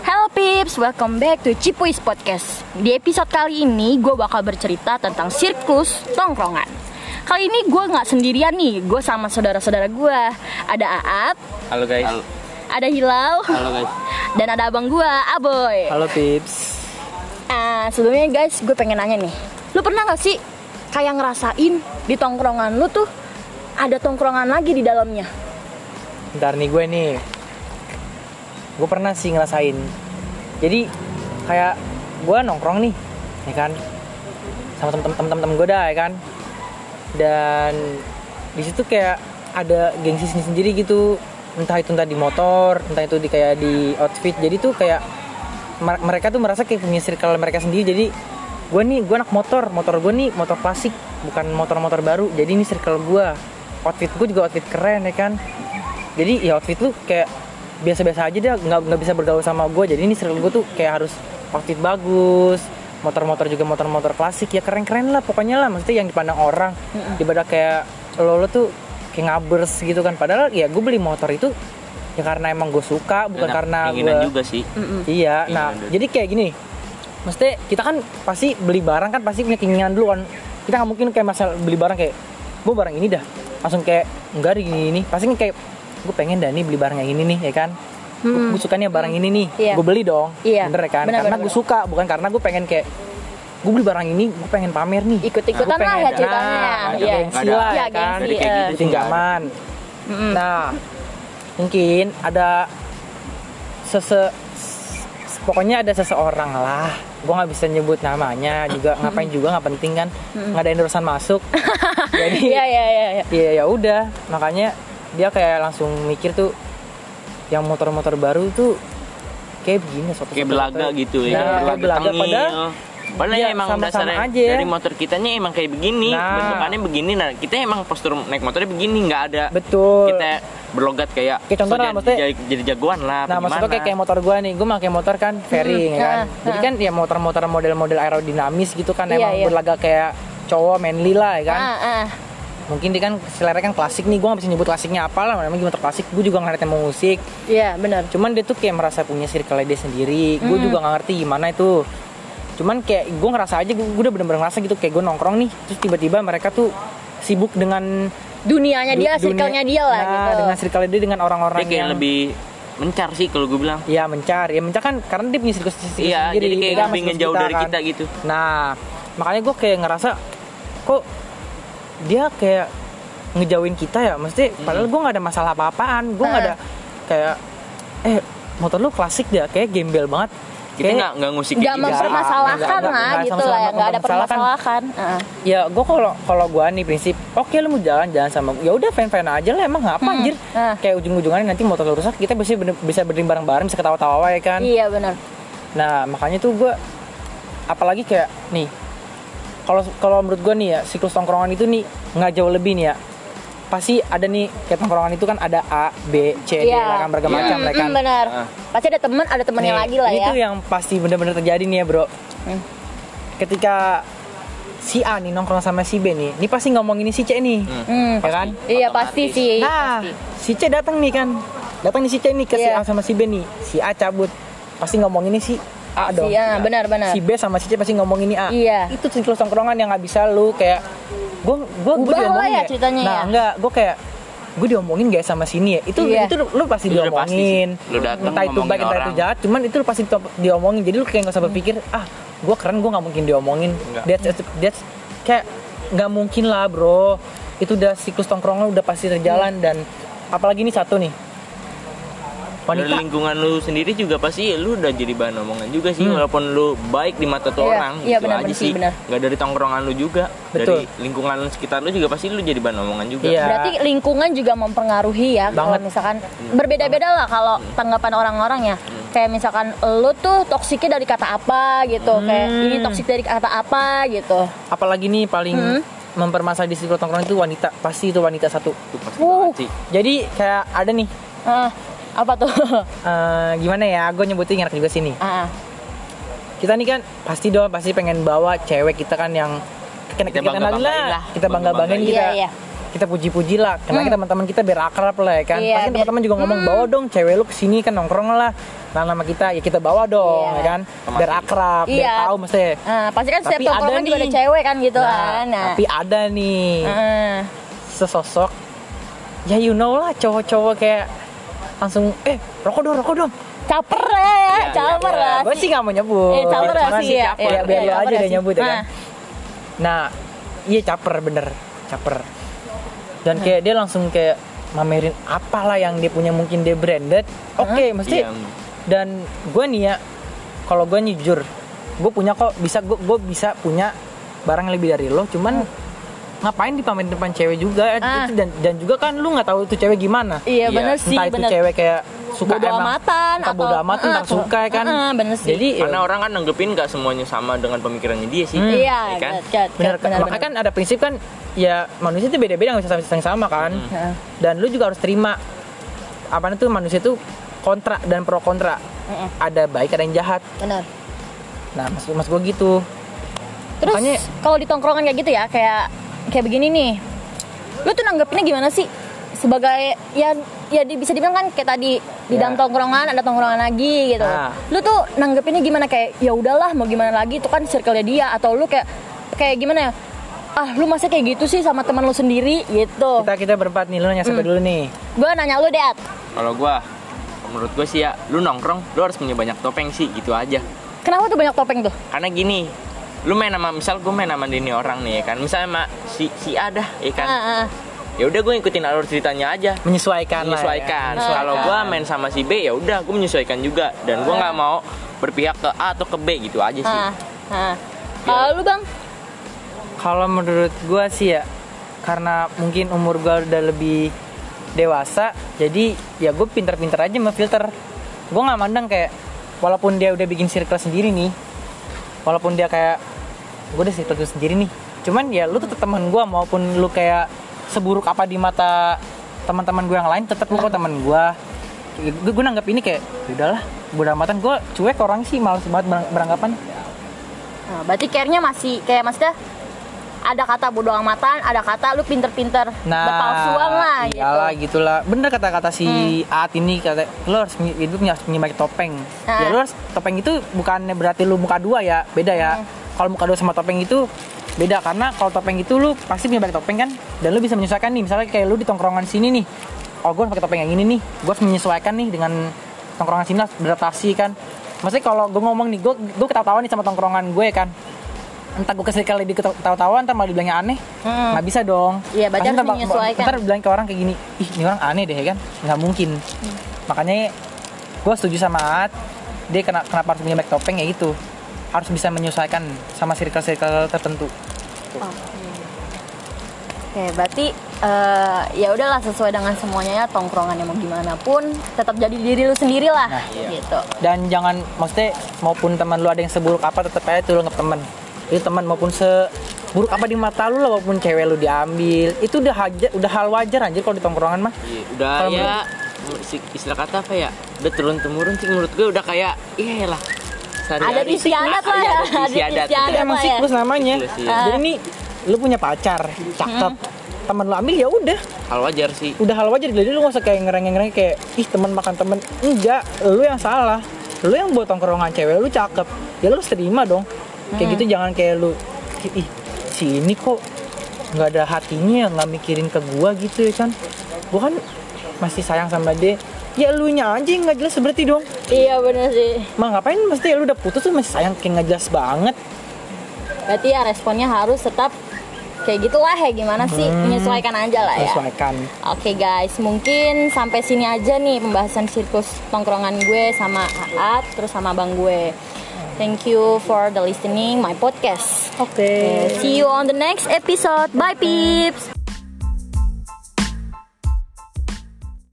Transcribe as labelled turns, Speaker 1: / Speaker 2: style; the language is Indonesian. Speaker 1: Cips, welcome back to Cipuis Podcast. Di episode kali ini gue bakal bercerita tentang sirkus tongkrongan. Kali ini gue nggak sendirian nih, gue sama saudara-saudara gue. Ada Aap,
Speaker 2: Halo guys.
Speaker 3: Halo.
Speaker 1: ada Hilau,
Speaker 2: Halo guys.
Speaker 1: dan ada abang gue, Aboy.
Speaker 2: Halo Pips.
Speaker 1: Ah, sebelumnya guys, gue pengen nanya nih. Lu pernah gak sih kayak ngerasain di tongkrongan lu tuh ada tongkrongan lagi di dalamnya?
Speaker 2: Ntar nih gue nih. Gue pernah sih ngerasain. Jadi kayak gue nongkrong nih, ya kan? Sama temen-temen gue dah, ya kan? Dan di situ kayak ada gengsi sendiri gitu. Entah itu entah di motor, entah itu di kayak di outfit. Jadi tuh kayak mer- mereka tuh merasa kayak punya circle mereka sendiri. Jadi gue nih, gue anak motor, motor gue nih motor klasik, bukan motor-motor baru. Jadi ini circle gue. Outfit gue juga outfit keren, ya kan? jadi ya outfit lu kayak biasa-biasa aja deh nggak nggak bisa bergaul sama gue jadi ini circle gue tuh kayak harus outfit bagus motor-motor juga motor-motor klasik ya keren-keren lah pokoknya lah maksudnya yang dipandang orang daripada kayak lo lo tuh kayak ngabers gitu kan padahal ya gue beli motor itu ya karena emang gue suka bukan
Speaker 3: Dan
Speaker 2: karena
Speaker 3: keinginan
Speaker 2: gue
Speaker 3: juga sih
Speaker 2: Iya,
Speaker 3: Iya,
Speaker 2: nah
Speaker 3: bener.
Speaker 2: jadi kayak gini, mesti kita kan pasti beli barang kan pasti punya keinginan dulu kan. Kita nggak mungkin kayak masalah beli barang kayak gue barang ini dah, langsung kayak enggak ada gini ini. Pasti kan kayak gue pengen dah nih beli barang yang ini nih, ya kan?
Speaker 1: Hmm.
Speaker 2: Gue sukanya barang ini nih,
Speaker 1: Iya.
Speaker 2: gue beli dong,
Speaker 1: Iya,
Speaker 2: bener ya kan?
Speaker 1: bener,
Speaker 2: karena
Speaker 1: bener,
Speaker 2: gue suka, bukan karena gue pengen kayak gue beli barang ini, gue pengen pamer nih.
Speaker 1: Ikut-ikutan lah
Speaker 2: Nah, Gua pengen
Speaker 1: ya
Speaker 2: ada.
Speaker 1: ceritanya.
Speaker 2: Nah, ada
Speaker 1: Iya.
Speaker 2: gengsi
Speaker 3: Ada.
Speaker 2: lah,
Speaker 1: Iya,
Speaker 2: ya kan?
Speaker 1: gengsi,
Speaker 3: Jadi kayak
Speaker 1: eh.
Speaker 3: gitu.
Speaker 2: Jadi nggak aman.
Speaker 1: Mm-mm.
Speaker 2: Nah, mungkin ada sese pokoknya ada seseorang lah. Gua nggak bisa nyebut namanya juga ngapain juga nggak penting kan. Nggak ada urusan masuk. Jadi
Speaker 1: Iya, iya, iya, iya.
Speaker 2: ya ya udah, makanya dia kayak langsung mikir tuh yang motor-motor baru tuh kayak begini soto-soto.
Speaker 3: kayak belaga gitu ya
Speaker 2: Nah, kayak
Speaker 3: belaga,
Speaker 2: belaga,
Speaker 3: tengil.
Speaker 2: padahal-
Speaker 3: Padahal
Speaker 2: Iya,
Speaker 3: emang
Speaker 2: sama-sama
Speaker 3: dasarnya
Speaker 2: aja.
Speaker 3: dari motor kitanya emang kayak begini
Speaker 2: Nah.
Speaker 3: bentukannya begini nah kita emang postur naik motornya begini nggak ada
Speaker 2: Betul.
Speaker 3: kita berlogat kayak
Speaker 2: Kayak contoh lah,
Speaker 3: jadi-
Speaker 2: maksudnya-
Speaker 3: jadi, jadi jagoan lah
Speaker 2: Nah, maksud gue kayak, kayak motor gue nih, gue pakai motor kan fairing ya kan.
Speaker 1: nah,
Speaker 2: Jadi kan ya motor-motor model-model aerodinamis gitu kan
Speaker 1: Iya,
Speaker 2: emang
Speaker 1: iya.
Speaker 2: berlaga kayak cowok manly lah ya kan.
Speaker 1: Ah, ah.
Speaker 2: Mungkin dia kan selera kan klasik nih, gue gak bisa nyebut klasiknya apa lah, namanya motor klasik. Gue juga ngeliatnya mau musik.
Speaker 1: Iya, benar.
Speaker 2: Cuman dia tuh kayak merasa punya circle dia sendiri. Gue
Speaker 1: Hmm.
Speaker 2: juga gak ngerti gimana itu. Cuman kayak gue ngerasa aja, gue udah bener-bener ngerasa gitu kayak gue nongkrong nih, terus tiba-tiba mereka tuh sibuk dengan
Speaker 1: Dunianya Ya, dia,
Speaker 2: du- dunia-
Speaker 1: circle-nya dia lah
Speaker 2: Nah,
Speaker 1: gitu.
Speaker 2: dengan circle dia dengan orang-orang
Speaker 3: dia kayak
Speaker 2: yang
Speaker 3: lebih mencar sih kalau gue bilang
Speaker 2: Ya mencar, ya mencar kan karena dia punya sirkus sirkus
Speaker 3: iya
Speaker 2: sendiri.
Speaker 3: jadi kayak
Speaker 2: Dia
Speaker 3: lebih
Speaker 2: sama sirkus
Speaker 3: ngejauh dari
Speaker 2: kan.
Speaker 3: kita gitu
Speaker 2: Nah, makanya gue kayak ngerasa kok dia kayak ngejauhin kita ya, mesti padahal gue nggak ada masalah apa-apaan, gue nggak ada kayak eh motor lu klasik deh, kayak gembel banget.
Speaker 3: kita Gitu
Speaker 2: Kayak-
Speaker 3: nggak nggak ngusik
Speaker 1: Gak mempermasalahkan
Speaker 2: Nggak, nggak,
Speaker 1: lah
Speaker 2: nggak,
Speaker 1: gitu
Speaker 2: sama-sama
Speaker 1: lah, ya. nggak ada
Speaker 2: mempermasalahkan.
Speaker 1: permasalahan. Ah.
Speaker 2: ya gue kalau kalau gue nih prinsip oke lu mau jalan jalan sama ya udah fan fan aja lah emang
Speaker 3: Hmm.
Speaker 2: ngapa anjir
Speaker 1: ah.
Speaker 2: kayak ujung ujungannya nanti motor lu rusak kita bisa bener- bisa berdiri bareng bareng bisa ketawa tawa ya kan
Speaker 1: Iya benar.
Speaker 2: Nah makanya tuh gue apalagi kayak nih kalau kalau menurut gue nih ya siklus tongkrongan itu nih nggak jauh lebih nih ya pasti ada nih kayak tongkrongan itu kan ada A B C D
Speaker 1: Iya.
Speaker 2: lah kan beragam
Speaker 3: Iya.
Speaker 2: macam lah kan.
Speaker 1: Mm, benar.
Speaker 3: Ah.
Speaker 1: Pasti ada teman, ada temannya
Speaker 2: Nih,
Speaker 1: lagi lah ya.
Speaker 2: Iya, Itu yang pasti bener-bener terjadi nih ya bro.
Speaker 1: Hmm.
Speaker 2: Ketika si A nih nongkrong sama si B nih, ini pasti ngomongin si C nih,
Speaker 1: Hmm.
Speaker 2: ya kan?
Speaker 1: Iya pasti
Speaker 3: Otomatis.
Speaker 1: sih.
Speaker 2: Nah,
Speaker 1: pasti.
Speaker 2: si C datang nih kan. Datang nih si C nih ke
Speaker 1: Iya.
Speaker 2: si A sama si B nih. Si A cabut. Pasti ngomongin si A dong.
Speaker 1: Si A, benar, benar.
Speaker 2: Si B sama si C pasti ngomongin ini A.
Speaker 1: Iya.
Speaker 2: Itu siklus tongkrongan yang nggak bisa lu kayak gue gue
Speaker 1: Ubah lah ya ceritanya
Speaker 2: Nah,
Speaker 1: ya.
Speaker 2: enggak, gue kayak gue diomongin gak sama sini ya itu
Speaker 1: Iya.
Speaker 2: itu lu, lu pasti
Speaker 3: Itu udah pasti
Speaker 2: diomongin
Speaker 3: sih. Lu datang
Speaker 2: entah itu baik
Speaker 3: ngomongin
Speaker 2: entah itu
Speaker 3: orang. Hmm.
Speaker 2: jahat cuman itu lu pasti to- diomongin jadi lu kayak gak usah berpikir ah gue keren gue nggak mungkin diomongin
Speaker 3: Enggak.
Speaker 2: that's, that's- that's- kayak nggak mungkin lah bro itu udah siklus tongkrongan udah pasti
Speaker 3: Hmm.
Speaker 2: terjalan dan apalagi ini satu nih
Speaker 3: dari
Speaker 2: wanita
Speaker 3: lingkungan lu sendiri juga pasti lu udah jadi bahan omongan juga sih
Speaker 2: Hmm.
Speaker 3: walaupun lu baik di mata tuh
Speaker 1: Iya,
Speaker 3: orang
Speaker 1: iya,
Speaker 3: gitu
Speaker 1: benar,
Speaker 3: aja
Speaker 1: benar sih,
Speaker 3: sih
Speaker 1: benar.
Speaker 3: nggak dari tongkrongan lu juga
Speaker 2: Betul.
Speaker 3: dari lingkungan lu sekitar lu juga pasti lu jadi bahan omongan juga
Speaker 2: Iya.
Speaker 1: Berarti lingkungan juga mempengaruhi ya kalau
Speaker 2: Banget. Iya.
Speaker 1: misalkan berbeda-beda lah kalau tanggapan orang-orang ya. Kayak misalkan lu tuh toksiknya dari kata apa gitu,
Speaker 2: Hmm.
Speaker 1: kayak ini toksik dari kata apa gitu.
Speaker 2: apalagi nih paling mempermasalah di siklus tongkrongan itu wanita pasti itu wanita satu
Speaker 3: Itu pasti
Speaker 1: Wuh.
Speaker 3: banget sih.
Speaker 2: jadi kayak ada nih
Speaker 1: Ah, apa tuh?
Speaker 2: eh, gimana ya gue nyebutin enak juga sini
Speaker 1: ah,
Speaker 2: kita nih kan pasti dong pasti pengen bawa cewek kita kan yang
Speaker 3: Kita
Speaker 2: kita, kita lagi
Speaker 3: bangga-banggain
Speaker 2: lah
Speaker 3: lah.
Speaker 2: kita bangga
Speaker 3: Bangga-banggain.
Speaker 2: banggain kita
Speaker 1: iya iya.
Speaker 2: kita puji-puji lah karena kita teman-teman kita biar akrab lah ya kan
Speaker 1: Iya,
Speaker 2: pasti
Speaker 1: biar-
Speaker 2: teman-teman juga ngomong bawa dong cewek lu kesini kan nongkrong lah nah nama kita ya kita bawa dong
Speaker 1: Iya.
Speaker 2: ya kan biar akrab biar
Speaker 1: Iya.
Speaker 2: tahu mesti
Speaker 1: Ah, pasti kan setiap
Speaker 2: Tapi ada
Speaker 1: tongkrongan juga ada
Speaker 2: nih.
Speaker 1: cewek kan gitu kan. Nah,
Speaker 2: tapi ada nih
Speaker 1: ah.
Speaker 2: sesosok ya you know lah cowok-cowok kayak langsung eh rokok dong rokok dong
Speaker 1: caper lah ya,
Speaker 3: Iya,
Speaker 1: caper
Speaker 3: iya,
Speaker 1: lah.
Speaker 2: gue sih nggak mau nyebut
Speaker 1: Eh, caper lah
Speaker 2: Cuman
Speaker 1: sih,
Speaker 2: sih
Speaker 1: iya,
Speaker 2: caper.
Speaker 1: iya, iya,
Speaker 2: biar lo aja
Speaker 1: caper
Speaker 2: udah
Speaker 1: sih.
Speaker 2: nyebut ya kan
Speaker 1: Nah.
Speaker 2: nah iya caper bener caper dan kayak dia langsung kayak mamerin apalah yang dia punya mungkin dia branded oke mesti
Speaker 3: Iya.
Speaker 2: dan gue nih ya kalau gue jujur gue punya kok bisa gue bisa punya barang yang lebih dari lo cuman ngapain dipamerin depan cewek juga
Speaker 1: Ah.
Speaker 2: Itu dan dan juga kan lu nggak tahu itu cewek gimana
Speaker 1: Iya,
Speaker 3: Iya,
Speaker 1: bener sih,
Speaker 2: entah itu
Speaker 1: bener.
Speaker 2: cewek kayak suka
Speaker 1: Bodo
Speaker 2: emang-
Speaker 1: amatan
Speaker 2: entah
Speaker 1: atau- Ah,
Speaker 2: bodo amatan
Speaker 1: Heeh,
Speaker 2: entah
Speaker 1: atau-
Speaker 2: suka ya kan
Speaker 1: Heeh, bener sih.
Speaker 2: jadi
Speaker 3: Karena
Speaker 2: ya,
Speaker 3: orang kan nanggepin gak semuanya sama dengan pemikirannya dia sih.
Speaker 2: Hmm.
Speaker 1: Iya,
Speaker 3: ya kan?
Speaker 1: cat, cat,
Speaker 2: bener,
Speaker 1: cat, bener,
Speaker 2: makanya kan ada prinsip kan ya manusia itu beda-beda nggak bisa sama- sama sama kan
Speaker 1: Heeh.
Speaker 2: dan lu juga harus terima apa itu manusia itu kontra dan pro kontra
Speaker 1: Heeh.
Speaker 2: ada baik ada yang jahat
Speaker 1: Bener.
Speaker 2: nah maksud mas gue gitu
Speaker 1: Terus
Speaker 2: Makanya-
Speaker 1: kalau di tongkrongan kayak gitu ya, kayak kayak begini nih. Lu tuh nanggepinnya gimana sih? Sebagai ya ya di- bisa dibilang kan kayak tadi di
Speaker 2: Ya.
Speaker 1: dalam tongkrongan ada tongkrongan lagi gitu.
Speaker 2: Ah.
Speaker 1: Lu tuh nanggepinnya gimana kayak ya udahlah mau gimana lagi itu kan circle-nya dia atau lu kayak kayak gimana ya? Ah, lu masa kayak gitu sih sama teman lu sendiri gitu.
Speaker 2: kita kita berempat nih lu nanya siapa dulu nih
Speaker 1: Gua nanya lu, Dad.
Speaker 3: Kalau gua menurut gue sih ya, lu nongkrong, lu harus punya banyak topeng sih, gitu aja.
Speaker 1: Kenapa tuh banyak topeng tuh?
Speaker 3: Karena gini, lu main sama misal gue main sama ini orang nih ya kan misalnya sama si si A dah ya kan
Speaker 1: Ah, ah.
Speaker 3: ya udah gue ngikutin alur ceritanya aja
Speaker 2: menyesuaikan lah ya.
Speaker 3: menyesuaikan.
Speaker 2: Menyesuaikan.
Speaker 3: Kalau gua main sama si B ya udah gua menyesuaikan juga dan gua nggak mau berpihak ke A atau ke B gitu aja sih.
Speaker 1: Ah, ah. Kalau lu, Bang?
Speaker 2: kalau menurut gua sih ya karena mungkin umur gua udah lebih dewasa jadi ya gue pinter-pinter aja ngefilter gue nggak mandang kayak walaupun dia udah bikin circle sendiri nih walaupun dia kayak gue udah circle gue sendiri nih cuman ya lu tetep teman gua maupun lu kayak seburuk apa di mata teman-teman gue yang lain tetap lu kok teman gua gue gue nanggap ini kayak "Ya udahlah bodo amatan gue cuek orang sih males banget berang- beranggapan
Speaker 1: Nah, berarti care-nya masih kayak maksudnya ada kata bodo amatan, ada kata lu pinter-pinter
Speaker 2: nah iya
Speaker 1: berpalsuan lah
Speaker 2: iyalah
Speaker 1: gitu. Hmm.
Speaker 2: gitulah bener kata-kata si Aat ini kata lo harus punya- itu punya harus punya banyak topeng
Speaker 1: Ah.
Speaker 2: ya lo harus topeng itu bukannya berarti lu muka dua ya beda ya
Speaker 1: Hmm.
Speaker 2: kalau muka dua sama topeng itu beda karena kalau topeng itu lu pasti punya banyak topeng kan dan lu bisa menyesuaikan nih misalnya kayak lu di tongkrongan sini nih oh gue harus pakai topeng yang ini nih gue harus menyesuaikan nih dengan tongkrongan sini harus beradaptasi kan maksudnya kalau gue ngomong nih gue gue ketawa-tawa nih sama tongkrongan gue kan entah gue kesel kali ketawa-tawa ntar malah dibilangnya aneh
Speaker 1: Mm.
Speaker 2: nggak bisa dong
Speaker 1: Iya, berarti
Speaker 2: Pasti
Speaker 1: harus
Speaker 2: ntar-
Speaker 1: menyesuaikan.
Speaker 2: ntar bilang ke orang kayak gini ih ini orang aneh deh ya kan nggak mungkin
Speaker 1: Hmm.
Speaker 2: makanya gue setuju sama Aat dia kena, kenapa harus punya back topeng ya itu harus bisa menyesuaikan sama circle-circle tertentu
Speaker 1: Oke, berarti eh, ya udahlah sesuai dengan semuanya ya tongkrongannya mau gimana pun tetap jadi diri lu sendiri lah
Speaker 2: Nah,
Speaker 1: gitu.
Speaker 2: dan jangan maksudnya maupun teman lu ada yang seburuk apa tetap aja tuh lu anggap teman itu teman maupun seburuk apa di mata lu lah walaupun cewek lu diambil itu udah haja- udah hal wajar anjir kalau di tongkrongan mah
Speaker 3: Iya, Udah
Speaker 2: Kalau
Speaker 3: ya si- istilah kata apa ya? Udah turun temurun sih menurut gue udah kayak iya lah.
Speaker 1: Ada
Speaker 3: sehari-hari
Speaker 1: istiadat lah ya,
Speaker 3: Iya,
Speaker 1: ada
Speaker 3: Ada istiadat.
Speaker 1: istiadat.
Speaker 2: itu
Speaker 1: Apa
Speaker 2: emang
Speaker 1: ya? Ah.
Speaker 2: siklus namanya
Speaker 3: Siklus, iya.
Speaker 2: jadi ini lu punya pacar cakep
Speaker 1: Hmm.
Speaker 2: teman lu ambil ya udah
Speaker 3: Hal wajar sih.
Speaker 2: udah hal wajar jadi lu gak usah kayak ngerengek-ngerengek kayak ih teman makan temen enggak lu yang salah lu yang buat tongkrongan cewek lu cakep ya lu harus terima dong kayak gitu jangan kayak lu ih si ini kok nggak ada hatinya ya, nggak mikirin ke gua gitu ya kan gua kan masih sayang sama dia ya lu nya aja yang nggak jelas berarti dong
Speaker 1: Iya bener sih.
Speaker 2: mah ngapain mesti lu udah putus tuh masih sayang kayak nggak jelas banget
Speaker 1: Berarti ya responnya harus tetap kayak gitulah ya gimana sih
Speaker 2: Hmm.
Speaker 1: menyesuaikan aja lah ya.
Speaker 2: sesuaikan
Speaker 1: Oke guys, mungkin sampai sini aja nih pembahasan sirkus tongkrongan gue sama Aat terus sama abang gue. Thank you for the listening my podcast.
Speaker 2: oke
Speaker 1: See you on the next episode. Bye peeps.